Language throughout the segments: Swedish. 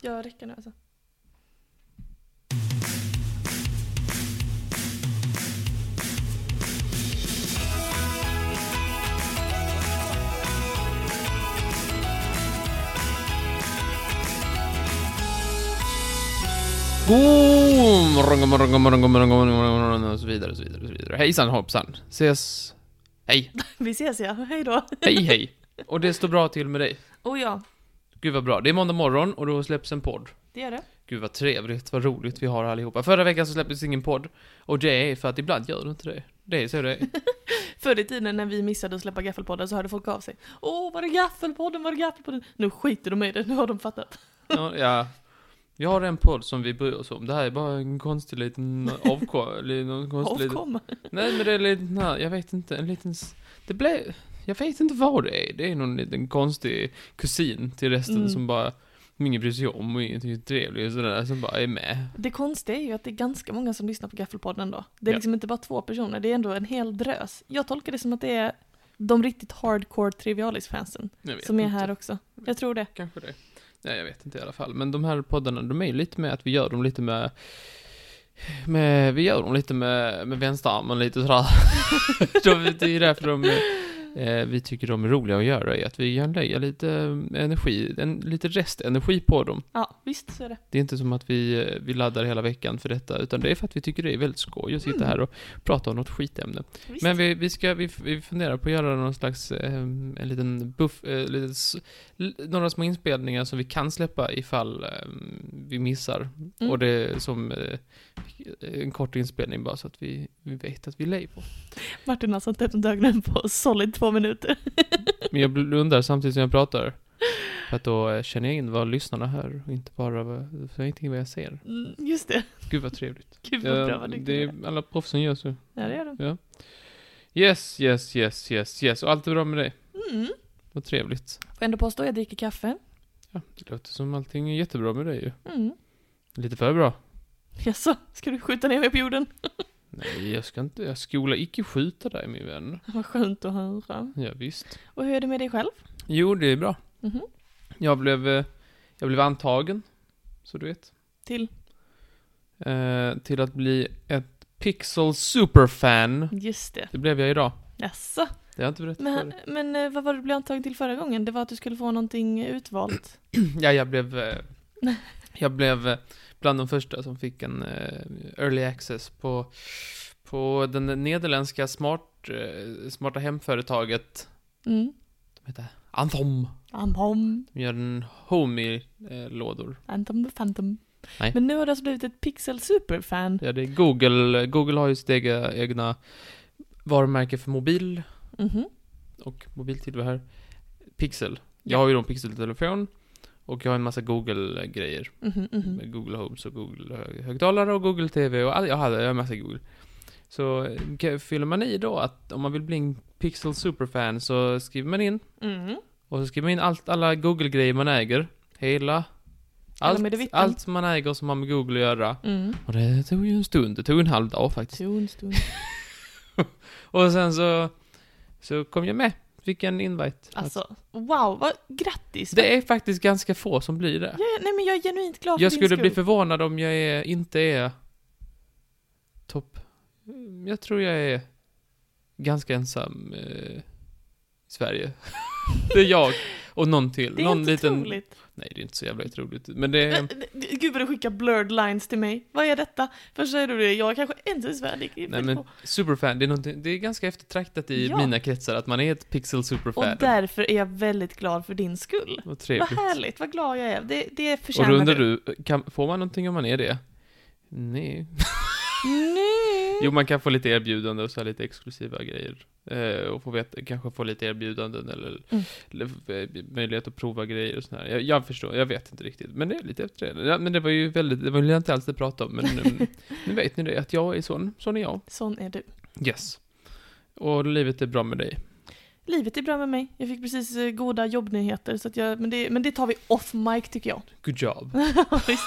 Jag räcker nu alltså. God morgon, god morgon, god morgon, god morgon, god morgon, god morgon, och så vidare, och så vidare, och så vidare. Hejsan hoppsan. Ses. Hej, Vi ses ja, hej då. hej, hej. Och det står bra till med dig. Och Oh, ja, Gud vad bra. Det är måndag morgon och då släpps en podd. det gör det. Gud vad trevligt, vad roligt vi har allihopa. Förra veckan så släpptes ingen podd. Och det är för att ibland gör du inte det. Det är så det är. Förr i tiden när vi missade att släppa gaffelpoddar så hörde folk av sig. Åh, var det gaffelpodden, var det gaffelpodden? Nu skiter de i det, nu har de fattat. Ja, ja. Vi har en podd som vi bryr oss om. Det här är bara en konstig liten avko... eller någon konstig liten... Avkomma. Nej men det är lite, nej, jag vet inte, en liten, s- det blev, jag vet inte vad det är, det är någon liten konstig kusin till resten Mm. som bara, ingen bryr sig om och ingen tycker det är trevlig och sådär, som bara är med. Det konstiga är ju att det är ganska många som lyssnar på gaffelpodden då. Det är Ja. liksom inte bara två personer, det är ändå en hel drös. Jag tolkar det som att det är de riktigt hardcore Trivialis-fansen Jag vet som är inte. här också. Jag tror det. Kanske det. Nej jag vet inte i alla fall, men de här poddarna, de är ju lite med att vi gör dem lite med, med vi gör dem lite med, med vänsterarmen lite sådär. de, det är ju därför de Eh, vi tycker de är roliga att göra är att vi kan lägga lite eh, energi, en, lite restenergi på dem. Ja, visst så är det. Det är inte som att vi, eh, vi laddar hela veckan för detta, utan det är för att vi tycker det är väldigt skoj att sitta Mm. här och prata om något skitämne. Visst. Men vi, vi, ska, vi, f- vi funderar på att göra någon slags, eh, en liten buff, eh, liten, s- l- några små inspelningar som vi kan släppa ifall eh, vi missar. Mm. Och det är som eh, en kort inspelning bara så att vi, vi vet att vi lever. Martin har sånt öppet ögonen på solid två minuter. Men jag blundar samtidigt som jag pratar. För att då eh, känner jag in vad lyssnarna hör och inte bara vad, så jag inte vad jag ser. Mm, Just det. Gud vad trevligt. Gud vad bra, Eh, vad duktig det du är alla proffsen gör så. Ja, det gör de. Yes, yes, yes, yes, yes. Och allt är bra med dig. Mm. Vad trevligt. Får ändå påstå, jag dricker kaffe. Ja, det låter som allting är jättebra med dig ju. Mm. Lite för bra. Jaså, ska du skjuta ner mig på jorden? Nej, jag ska inte, jag skola icke skjuta dig min vän. Vad skönt att höra. Ja, visst. Och hur är det med dig själv? Jo, det är bra. Mhm. Jag blev, eh, jag blev antagen, så du vet. Till? Eh, till att bli ett Pixel Superfan. Just det. Det blev jag idag. Jaså? Det har jag inte berättat för Men, dig. men eh, vad var det du blev antagen till förra gången? Det var att du skulle få någonting utvalt. Ja, jag blev... eh, Jag blev eh, bland de första som fick en eh, early access på, på den nederländska smart, eh, smarta hemföretaget Mm. Anthom. Amhom, De gör en eh, Homey-lådor. Antom the Phantom. Nej. Men nu har du alltså blivit ett Pixel Superfan. Ja, det är Google. Google har ju sitt ega- egna varumärke för mobil Mhm. och mobiltillbehör. Pixel. Jag har ju då en Pixel-telefon och jag har en massa Google-grejer. Mhm, mhm. med Google Homes och Google hö- högtalare och Google TV och all, jag hade jag har en massa Google. Så eh, kan- fyller man i då att om man vill bli en Pixel Superfan så skriver man in Mm. och så skriver man in allt, alla Google-grejer man äger. Hela. Allt, medevitten. allt som man äger som har med Google att göra. Mm. Och det tog ju en stund, det tog en halv dag faktiskt. Stund, stund. Och sen så, så kom jag med. Fick en invite. Alltså, wow, vad grattis! Det är faktiskt ganska få som blir det. Ja, ja, nej men jag är genuint glad Jag för skulle din bli skull. förvånad om jag är, inte är topp. Mm, Jag tror jag är ganska ensam eh, i Sverige. det är jag och någon till. Det är någon helt liten... otroligt. Nej, det är inte så jävla otroligt. Men det är... Äh, d- Gud vad du skickar blurred lines till mig. Vad är detta? Först säger du det, jag är kanske inte är svensk. Det är Nej fel men på. superfan, det är, någonting- det är ganska eftertraktat i Ja. mina kretsar att man är ett pixel Och superfan. därför är jag väldigt glad för din skull. Vad Vad trevligt. härligt, vad glad jag är. Det, det och förtjänar då undrar du, kan, får man någonting om man är det? Nej. Nej. Jo, man kan få lite erbjudanden och så här lite exklusiva grejer. Eh, och få veta, kanske få lite erbjudanden eller, Mm. eller eh, möjlighet att prova grejer och sådär. Jag, jag förstår, jag vet inte riktigt. Men det är lite efter det. Ja, men det var ju väldigt, det var ju inte alls det jag pratade om. Men mm, nu vet ni det, att jag är sån. Sån är jag. Sån är du. Yes. Och livet är bra med dig. Livet är bra med mig. Jag fick precis eh, goda jobbnyheter, så att jag, men, det, men det tar vi off mic tycker jag. Good job. Mm. Visst.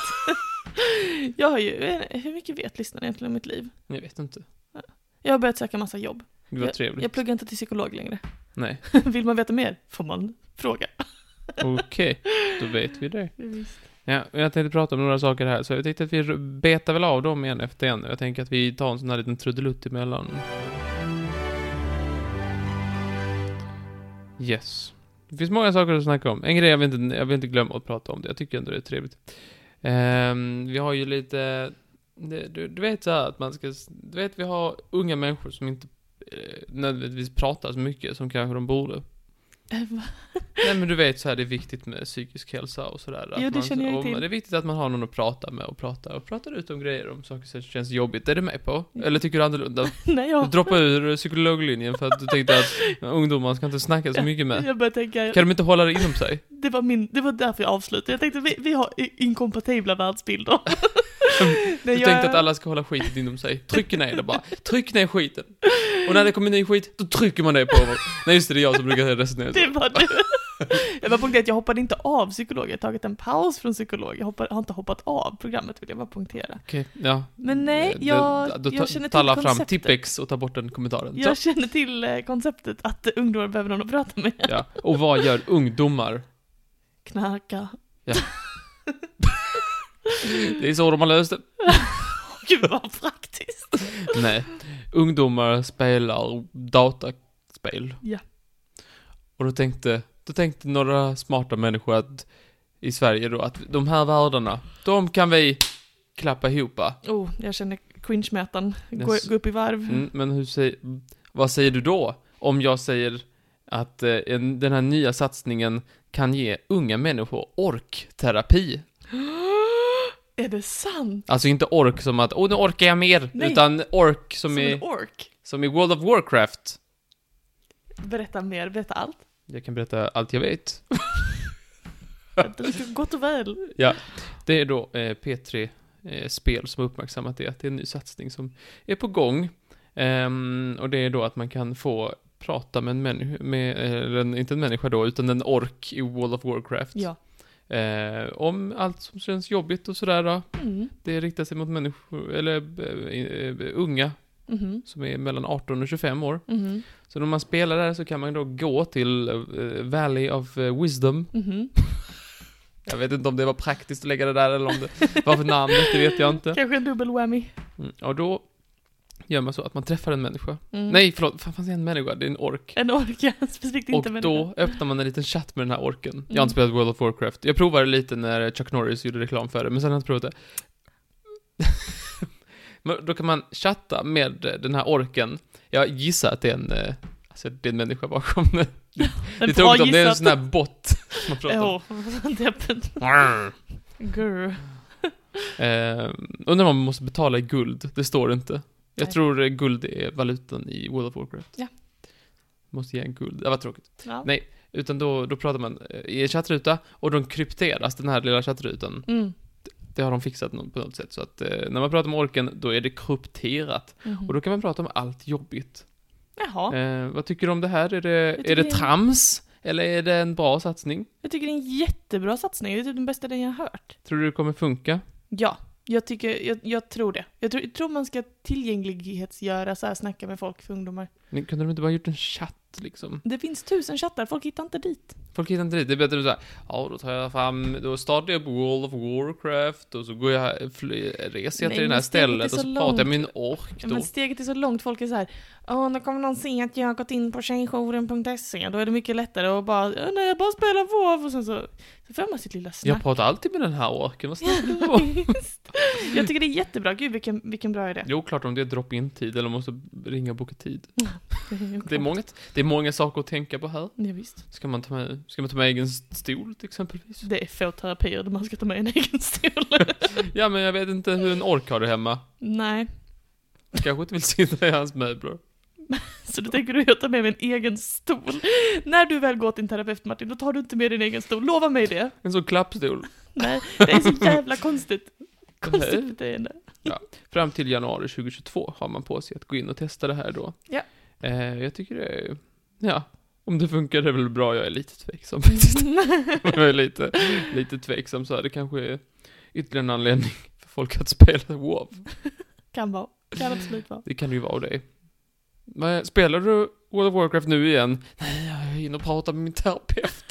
jag har ju, eh, hur mycket vet lyssnarna egentligen om mitt liv? Jag vet inte. Jag har börjat söka massa jobb. Gud vad trevligt. Jag pluggar inte till psykolog längre. Nej, Vill man veta mer får man fråga. okej. Då vet vi det. Visst. Ja, och jag tänkte prata om några saker här, så jag tänkte att vi betar väl av dem en efter en. Jag tänker att vi tar en sån här liten trudelutt emellan. Yes. Det finns många saker att snacka om. En grej jag vill inte, jag vill inte glömma att prata om det. Jag tycker ändå det är trevligt. Ehm, vi har ju lite... det- Du, du vet så här att man ska... Du vet, vi har unga människor som inte eh, nödvändigtvis pratar så mycket som kanske de borde. Va? Nej men du vet så här, det är viktigt med psykisk hälsa och sådär. att Jo, det man, känner jag ju och till. Det är viktigt att man har någon att prata med och prata och prata ut om grejer om saker som känns jobbigt. Är du med på? Eller tycker du annorlunda? Nej, Du jag... droppar ur psykologlinjen för att du tänkte att ungdomar ska inte snacka så mycket med. Jag börjar tänka, Kan de inte hålla det inom sig? det var, min, det var därför jag avslutade. Jag tänkte vi, vi har i- inkompatibla världsbilder. Du Nej, jag- tänkte att alla ska hålla skiten inom sig. Tryck ner det bara. Tryck ner skiten. Och när det kommer ny skit, då trycker man det på varandra. Nej just det, det är jag som brukar resonera så. Det var du. Jag var punktera att jag hoppade inte av psykolog, jag har tagit en paus från psykolog. Jag hoppar, har inte hoppat av programmet vill jag bara punktera. Okej, ja. Eh, Men nej, Det- jag, då ta- jag känner talla till fram konceptet. Tippex och ta bort den kommentaren. Så. Jag känner till eh, konceptet att eh, ungdomar behöver någon att prata med. Ja. Och vad gör ungdomar? Knarka. Det är så de har löst det. Gud vad praktiskt. Nej. Ungdomar spelar dataspel. Ja. Och då tänkte, då tänkte några smarta människor att, i Sverige då, att de här världarna, de kan vi klappa ihop. Oh, jag känner cringe-mätaren. Gå, Yes. gå upp i varv. Mm, men hur säger, vad säger du då? Om jag säger att eh, en, den här nya satsningen kan ge unga människor orkterapi. Är det sant? Alltså inte ork som att, åh nu orkar jag mer, Nej. utan ork som, Som, i, en ork. som i World of Warcraft. Berätta mer, berätta allt. Jag kan berätta allt jag vet. Det ska gott och väl. Det är då eh, P3 eh, Spel som har uppmärksammat det, att det är en ny satsning som är på gång. Ehm, och det är då att man kan få prata med en människa, med, eller en, inte en människa då, utan en ork i World of Warcraft. Ja. Eh, om allt som känns jobbigt och sådär. Mm. Det riktar sig mot människor, eller eh, eh, unga Mhm. som är mellan 18 och 25 år. Mhm. Så när man spelar där så kan man då gå till eh, Valley of eh, Wisdom. Mhm. Jag vet inte om det var praktiskt att lägga det där eller om det var för namnet, det vet jag inte. Kanske en dubbel whammy. Mm, och då gör man så att man träffar en människa. Mm. Nej, förlåt, fan fanns det en människa? Det är en ork. En ork, ja. Specifikt Och inte en människa. då öppnar man en liten chatt med den här orken. Jag Mm. har inte spelat World of Warcraft. Jag provade lite när Chuck Norris gjorde reklam för det, men sen har jag inte provat det. Men då kan man chatta med den här orken. Jag gissar att det är en, eh, alltså det är en människa bakom det. En det är tråkigt om det är en gissat. sån här bot som man pratar om. Ja, det är öppet. Grr. Eh, undrar om man måste betala i guld. Det står inte. Jag Nej. tror eh, guld är valutan i World of Warcraft. Ja. Måste ge en guld. Det var tråkigt. Ja. Nej. Utan då, då pratar man eh, i en chattruta och de krypteras, den här lilla chattrutan. Mm. Det har de fixat nå- på något sätt. Så att eh, när man pratar med orken, då är det krypterat. Mhm. Och då kan man prata om allt jobbigt. Jaha, Eh, vad tycker du om det här? Är det, tycker är det det är- trams? Eller är det en bra satsning? jag tycker det är en jättebra satsning. Det är typ den bästa den jag har hört. Tror du det kommer funka? Ja, jag, tycker, jag, jag tror det. Jag tror, jag tror man ska tillgänglighetsgöra så här, snacka med folk för ungdomar. Men Kunde de inte bara gjort en chatt liksom? Det finns tusen chattar, folk hittar inte dit. Folk hittar inte dit. Det är bättre att säga, ja då tar jag fram, då startar jag på World of Warcraft och så går jag, fly, reser jag Nej, till det här men steget är stället och så så pratar jag med min långt. ork Ja, då. Men steget är så långt, folk är så här, åh, nu kommer någon se att jag har gått in på tjejjouren.se. Då är det mycket lättare att bara, "Åh, nej, jag bara spelar WoW och sen så, så får man sitt lilla snack. Jag pratar alltid med den här orken, vad snackar du Ja, om? visst. Jag tycker det är jättebra. Gud, vilken, vilken bra idé. Jo, klart om det är drop-in-tid eller måste ringa och boka tid. Det är, klart. många, det är många saker att tänka på här. Ja, visst. Ska man ta med, ska man ta med egen stol till exempelvis? Det är få terapier där man ska ta med en egen stol. Ja, men jag vet inte hur en ork har det hemma. Nej, Jag kanske inte vill sitta i hans möbler. så då tänker du jag tar med mig en egen stol. När du väl går till en terapeut Martin, då tar du inte med din egen stol. Lova mig det. En sån klappstol. Nej, det är så jävla konstigt. Konstigt beteende. Fram till januari 2022 har man på sig att gå in och testa det här då. Ja. Eh, jag tycker det är, ja, om det funkar det är väl bra, jag är lite tveksam faktiskt. jag är lite, lite tveksam så här, det kanske är ytterligare en anledning för folk att spela WoW. Kan vara. Kan absolut vara. Det kan det ju vara och det. är- Men spelar du World of Warcraft nu igen? Nej, jag är inne och pratar med min terapeut.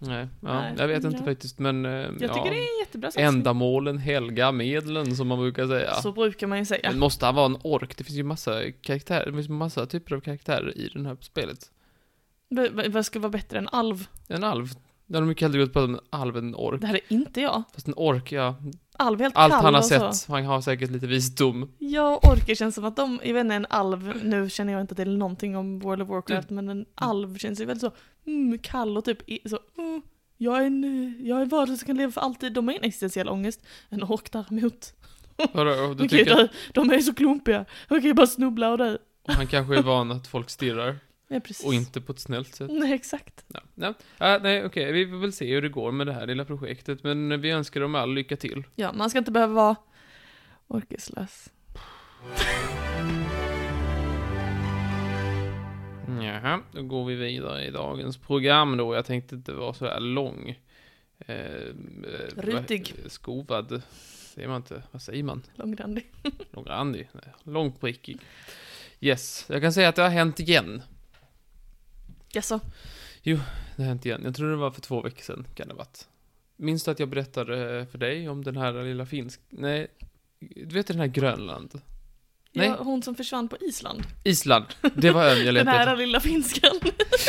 Nej, ja, Nej, jag vet inte ja. faktiskt men... eh, Jag tycker ja, det är en jättebra satsning. Ändamålen helga medlen som man brukar säga. Så brukar man ju säga. Men måste han vara en ork? Det finns ju massa karaktärer, det finns massa typer av karaktärer i det här spelet. V- v- Vad skulle vara bättre än alv? En alv. Det hade de mycket hellre gått på en alv än en ork. Det här är inte jag. Fast en ork, ja. Alv är helt Allt kall han har och så. sett, han har säkert lite visdom. Jag och orker känns som att de, jag vet inte, en alv, nu känner jag inte till någonting om World of Warcraft, men en alv känns ju väldigt så mm, kall och typ i- så mm, jag är en, eh, jag är en varelse som kan leva för alltid. De har en existentiell ångest. En ork däremot. Vadå, De, du kan ju tycker dö. de är så klumpiga. De kan ju bara snubbla och dö. att han kanske är van att folk stirrar Ja, precis. och inte på ett snällt sätt. Nej, exakt. Ja, nej, Ja, nej okej, vi får väl se hur det går med det här lilla projektet, men vi önskar dem all lycka till. Ja, man ska inte behöva vara orkeslös. Jaha, då går vi vidare i dagens program då. Jag tänkte inte vara så här lång. Eh, eh, Rutig. vad- Skovad. Säger man inte. Vad säger man? Långrandig. Långrandig? Nej, Långprickig. Yes, jag kan säga att det har hänt igen. Jaså? Det har hänt igen. Jag tror det var för två veckor sedan, kan det ha varit. Minns du att jag berättade eh, för dig om den här lilla finsk... Nej, du vet den här Grönland? Nej. Ja, hon som försvann på Island. Island. Det var ön jag Den letade här efter. lilla finskan.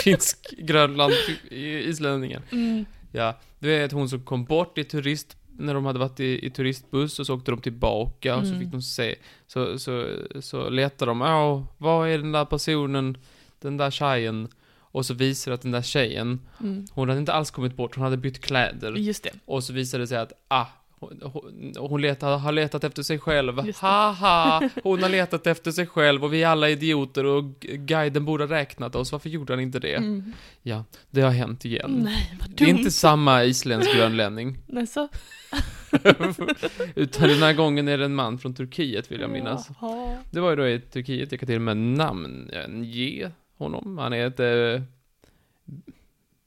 Finsk, Grönland, islänningen. Mm. Ja, du vet hon som kom bort i turist, när de hade varit i, i turistbuss och så åkte de tillbaka och så Mm. fick de se, så, så, så letade de, åh, var är den där personen, den där tjejen? Och så visade det att den där tjejen, Mm. hon hade inte alls kommit bort, hon hade bytt kläder. Just det. Och så visade det sig att, ah, hon, hon, hon letar, har letat efter sig själv. Just det. Haha! Hon har letat efter sig själv och vi är alla idioter och gu- guiden borde ha räknat oss. Varför gjorde han inte det? Mm. Ja, det har hänt igen. Nej, vad Det är dumt. inte samma isländsk grönlänning. Nej, så. Utan den här gången är det en man från Turkiet vill jag minnas. Jaha. Det var ju då i Turkiet, jag kan till och med namn eh, ge honom. Han är ett... Eh,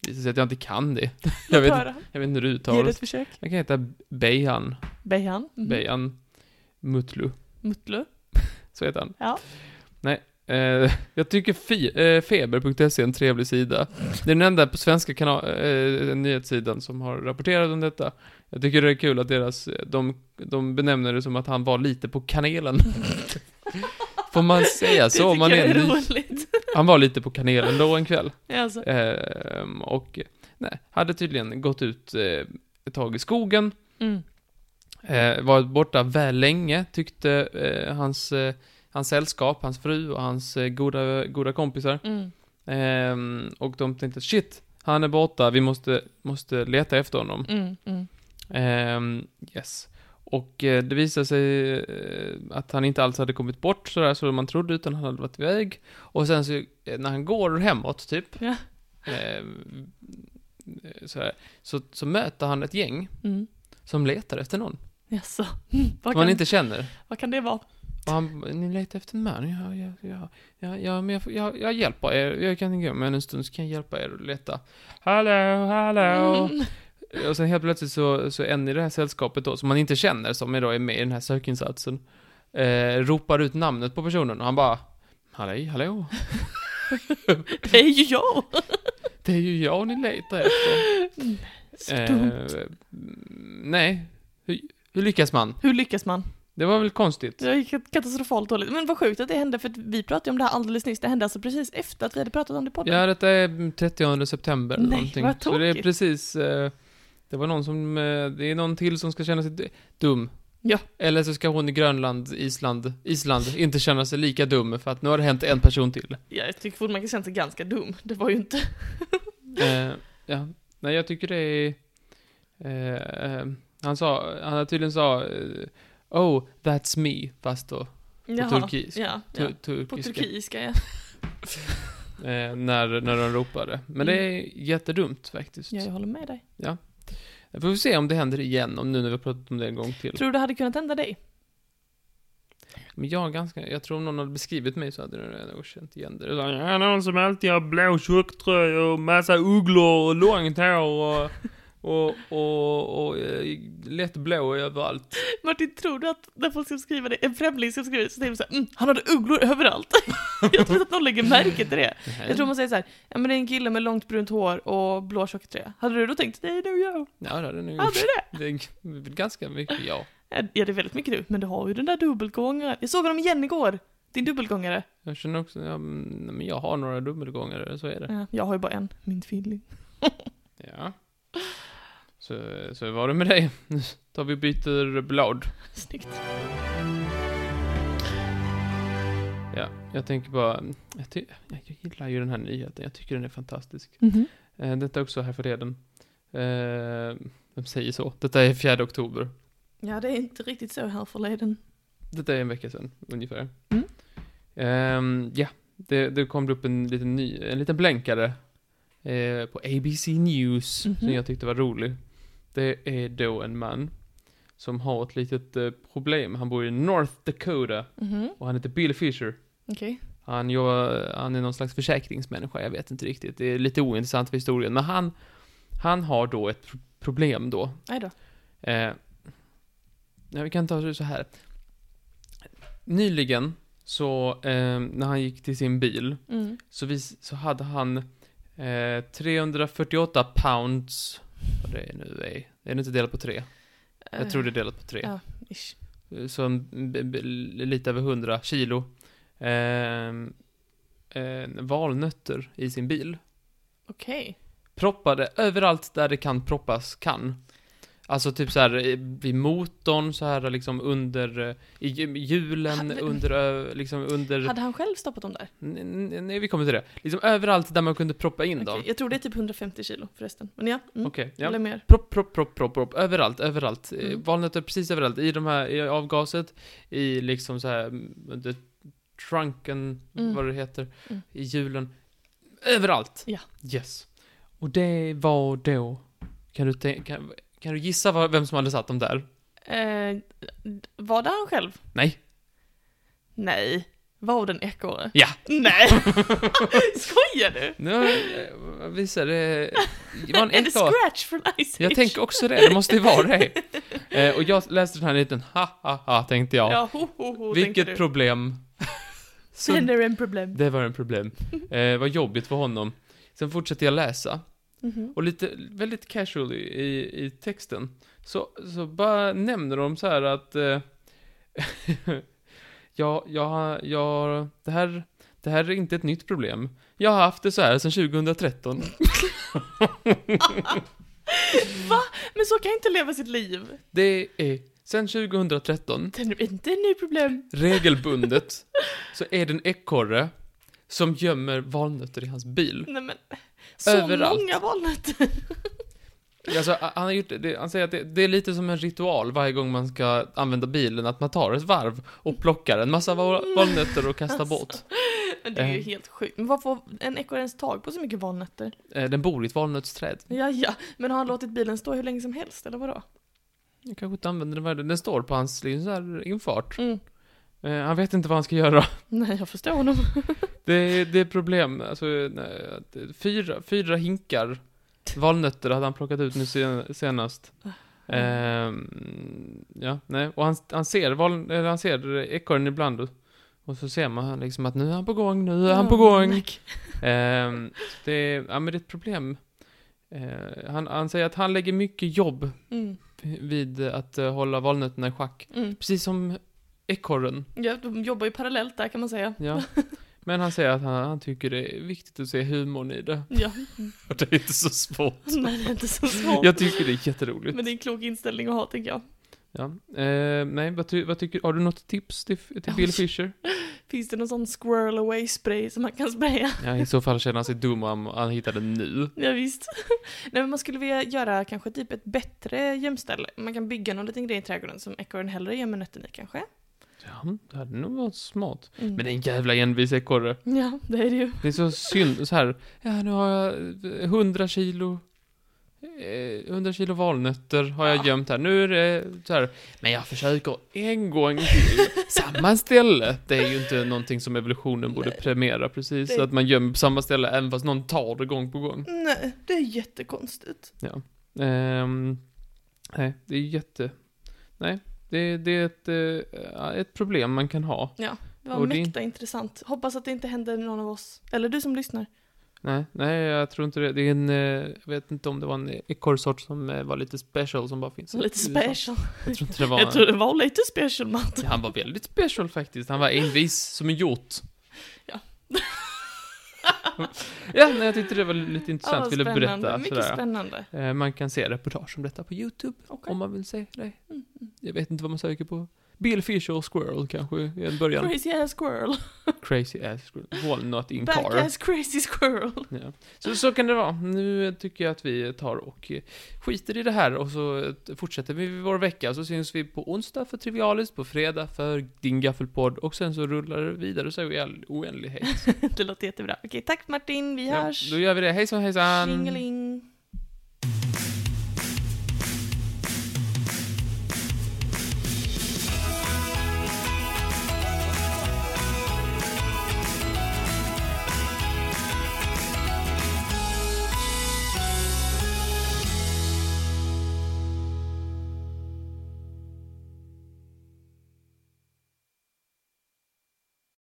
visar sig att jag inte kan det. Jag vet, höra. jag vet inte hur det Ge det uttalas. ett försök. Han kan heta Beyhan. Bejan. Mhm. Beyhan Mutlu. Mutlu. Så heter han. Ja. Nej. Eh, jag tycker fi- eh, feber.se är en trevlig sida. Det är den enda på svenska kanal- eh, nyhetssidan som har rapporterat om detta. Jag tycker det är kul att deras, eh, de, de benämner det som att han var lite på kanelen. Får man säga så? det om Man tycker jag är är ny- roligt. han var lite på kanelen då en kväll. Alltså. Eh, och eh, nej, hade tydligen gått ut eh, ett tag i skogen Mm. Eh, varit borta väl länge, tyckte eh, hans, eh, hans sällskap, hans fru och hans eh, goda, goda kompisar. Mm. Ehm, och de tänkte, shit, han är borta, vi måste, måste leta efter honom. Mm. Mm. Ehm, yes. Och eh, det visade sig eh, att han inte alls hade kommit bort sådär som man trodde, utan han hade varit iväg. Och sen så, eh, när han går hemåt, typ, Ja. ehm, eh, sådär, så, så möter han ett gäng Mm. som letar efter någon. Jaså. Vad Som han kan, inte känner. vad kan det vara? Och han, ni letar efter en man? Ja, ja, ja, ja, ja men jag, får- jag, jag hjälper er. Jag kan gå med en stund så kan jag hjälpa er att leta. Hallå, hallå. Mm. Och sen helt plötsligt så, så en i det här sällskapet då, som man inte känner, som då är med i den här sökinsatsen, eh, ropar ut namnet på personen och han bara Hallå, hallå. Det är ju jag! Det är ju jag ni letar efter. Så dumt. Eh, nej. Hur, hur lyckas man? Hur lyckas man? Det var väl konstigt? Det gick katastrofalt dåligt. Men vad sjukt att det hände, för att vi pratade om det här alldeles nyss. Det hände alltså precis efter att vi hade pratat om det på Ja, detta är 30 september eller Nej, någonting. vad Så det är tråkigt. precis, eh, det var någon som, eh, det är någon till som ska känna sig d- dum. Ja. Eller så ska hon i Grönland, Island, Island inte känna sig lika dum för att nu har det hänt en person till. Ja, jag tycker fortfarande man kan känna sig ganska dum. Det var ju inte... Eh, ja, nej jag tycker det är, eh, eh, han sa, han har tydligen sa, eh, oh, that's me, fast då, Jaha. turkis. Ja, tu- ja. På turkiska. turkiska, ja. Eh, när, när de ropade. Men det är jättedumt faktiskt. Mm. ja. Jag håller med dig. Vi får se om det händer igen, om nu när vi har pratat om det en gång till. Tror du det hade kunnat hända dig? Men jag är ganska, jag tror om någon hade beskrivit mig så hade den nog känt igen det. det. var, "Ja, Någon som alltid har blå tjocktröja och massa ugglor och långt hår och Och, och, och eh, lätt blå överallt. Martin, tror du att när folk ska skriva det, en främling ska skriva det, så säger de såhär mm, han hade ugglor överallt. jag tror inte att någon lägger märke till det. Jag tror man säger såhär, ja men det är en kille med långt brunt hår och blå tjocktröja. Hade du då tänkt, nej det är jag. Ja, det hade ni Hade gjort. du det? Det är ganska mycket, ja. Ja, det är väldigt mycket du, men du har ju den där dubbelgångaren. Jag såg honom igen igår. Din dubbelgångare. Jag känner också, ja, men men jag har några dubbelgångare, så är det. Ja, Jag har ju bara en, min tvilling. Ja. Så, så var det med dig. Nu tar vi och byter blad. Snyggt. Ja, jag tänker bara, jag, ty- jag gillar ju den här nyheten, jag tycker den är fantastisk. Mhm. Eh, detta är också här förleden. Eh, vem säger så? Detta är 4 oktober. Ja, det är inte riktigt så här förleden. Detta är en vecka sedan, ungefär. Mm. Ehm, ja, det, det kom upp en liten, ny, en liten blänkare eh, på ABC News som Mhm. jag tyckte var rolig. Det är då en man som har ett litet eh, problem. Han bor i North Dakota Mhm. och han heter Bill Fisher. Okej. Han, jobbar, han är någon slags försäkringsmänniska, jag vet inte riktigt. Det är lite ointressant för historien. Men han, han har då ett pro- problem då. Aj då. Eh, ja, vi kan ta det så här. Nyligen, så eh, när han gick till sin bil, Mm. så, vis, så hade han eh, 348 pounds. Vad det är nu är. Är det inte delat på tre? Jag tror det är delat på tre. Ja, ish. Eh, Så en, b, b, lite över 100 kilo. Eh, eh, valnötter i sin bil. Okej. proppade överallt där det kan proppas kan. Alltså typ så här eh, vid motorn, så här liksom under eh, i hj- hjulen, Hade- under ö, liksom under Hade han själv stoppat dem där? N- n- Nej, vi kommer till det. Liksom överallt där man kunde proppa in dem. Okej, Jag tror det är typ 150 kilo förresten. Men ja, mm. Okej, ja. eller mer. Propp, propp, propp, propp, propp, överallt, överallt. Eh, Mm. Valnötter precis överallt, i de här, i avgaset, i liksom så här mm, under trunken, Mm. vad det heter, Mm. i hjulen. Överallt! Ja. Yes. Och det var då, kan du tänka, kan, kan du gissa vad, vem som hade satt dem där? Eh, d- var det han själv? Nej. Nej. Var den ekorre? Ja. Nej! Skojar du? Nu eh, visar det, det var en Är det ekorre. scratch från Ice Jag Age? tänker också det, det måste ju vara det. Eh, och jag läste den här liten, ha ha ha, tänkte jag. Ja, ho, ho, ho, tänker Vilket du. problem. Så Sen är det en problem. Det var en problem. Eh, vad jobbigt för honom. Sen fortsatte jag läsa. Mhm. Och lite, väldigt casually i, i texten. Så, så bara nämner de så här att... Eh, ja, ja, ja, det här, det här är inte ett nytt problem. Jag har haft det så här sedan 2013. Men så kan jag inte leva sitt liv. Det är sedan 2013 Det är inte en ny problem. regelbundet så är det en ekorre som gömmer valnötter i hans bil. Nej men. Så Överallt. många valnötter. Alltså, han, har gjort, det, han säger att det, det är lite som en ritual varje gång man ska använda bilen, att man tar ett varv och plockar en massa val- valnötter och kastar bort. Men det är ju Eh. helt sjukt. Men vad får en ekorre ens tag på så mycket valnötter? Eh, Den bor i ett valnötsträd. Ja, ja. Men har han låtit bilen stå hur länge som helst, eller vadå? Jag kanske inte använder den varje dag. Den står på hans liksom, så här, infart. Mm. Eh, Han vet inte vad han ska göra. Nej, jag förstår honom. Det, det är problem. Alltså, nej, att- fyra, fyra hinkar valnötter hade han plockat ut nu sen, senast. Ehm, ja, nej. Och han, han ser, val, eller han ser ekorren ibland. Och så ser man liksom att nu är han på gång, nu är han på Ja, gång. tack. Ehm, det, är- ja, men det är ett problem. Eh, han, han säger att han lägger mycket jobb Mm. vid att eh, hålla valnötterna i schack. Mm. Precis som ekorren. Ja, de jobbar ju parallellt där kan man säga. Ja. Men han säger att han, han tycker det är viktigt att se humorn i det. Ja, Och det är inte så svårt. nej det är inte så svårt. Jag tycker det är jätteroligt. Men det är en klok inställning att ha tycker jag. Ja. Eh, nej, vad, ty, vad tycker, har du något tips till, till Oj. Bill Fisher? Finns det någon sån squirrel away spray som man kan spraya? Ja, i så fall känner han sig dum om han hittar den nu. Ja, visst. Nej men man skulle vilja göra kanske typ ett bättre gömställe. Man kan bygga någon liten grej i trädgården som ekorren hellre gömmer nötterna i kanske. Ja, det hade nog varit smart. Mm. Men det är en jävla envis ekorre. Ja, det är det ju. Det är så synd, så här. Ja, nu har jag eh, 100 kilo. eh, 100 kilo valnötter har jag Ja. gömt här. Nu är det så här. Men jag försöker en gång till. samma ställe. Det är ju inte någonting som evolutionen borde Nej. premiera precis. Det- Att man gömmer på samma ställe även fast någon tar det gång på gång. Nej, det är jättekonstigt. Ja. Ehm, nej, det är jätte... Nej, det, det är ett, eh, ett problem man kan ha. Det var Och det är mäkta intressant. Hoppas att det inte händer någon av oss. Eller du som lyssnar. Nej, nej, jag tror inte det. Det är en, eh, jag vet inte om det var en ekorrsort som eh, var lite special som bara finns. i Lite USA. special. Jag tror inte det var Jag tror det var lite special Matt. Han var väldigt special faktiskt. Han var envis som en hjort. Ja. ja, nej, jag tyckte det var lite Ja, intressant. vad ville berätta. spännande. Mycket sådär. spännande. Eh, Man kan se reportage om detta på YouTube Okej. om man vill se det. Mm, mm. Jag vet inte vad man söker på. Bill Fisher och Squirrel kanske i en början. Crazy ass squirrel. Crazy ass squirrel. Walnut in Back car. ass crazy squirrel. Ja. Så, så kan det vara. Nu tycker jag att vi tar och eh, skiter i det här och så eh, fortsätter vi vår vecka. Så syns vi på onsdag för Trivialist, på fredag för Din Gaffelpodd och sen så rullar det vidare så är vi i all oändlighet. Det låter jättebra. Okej, tack Martin. Vi Ja, hörs. då gör vi det. Hejsan hejsan! Tjingeling.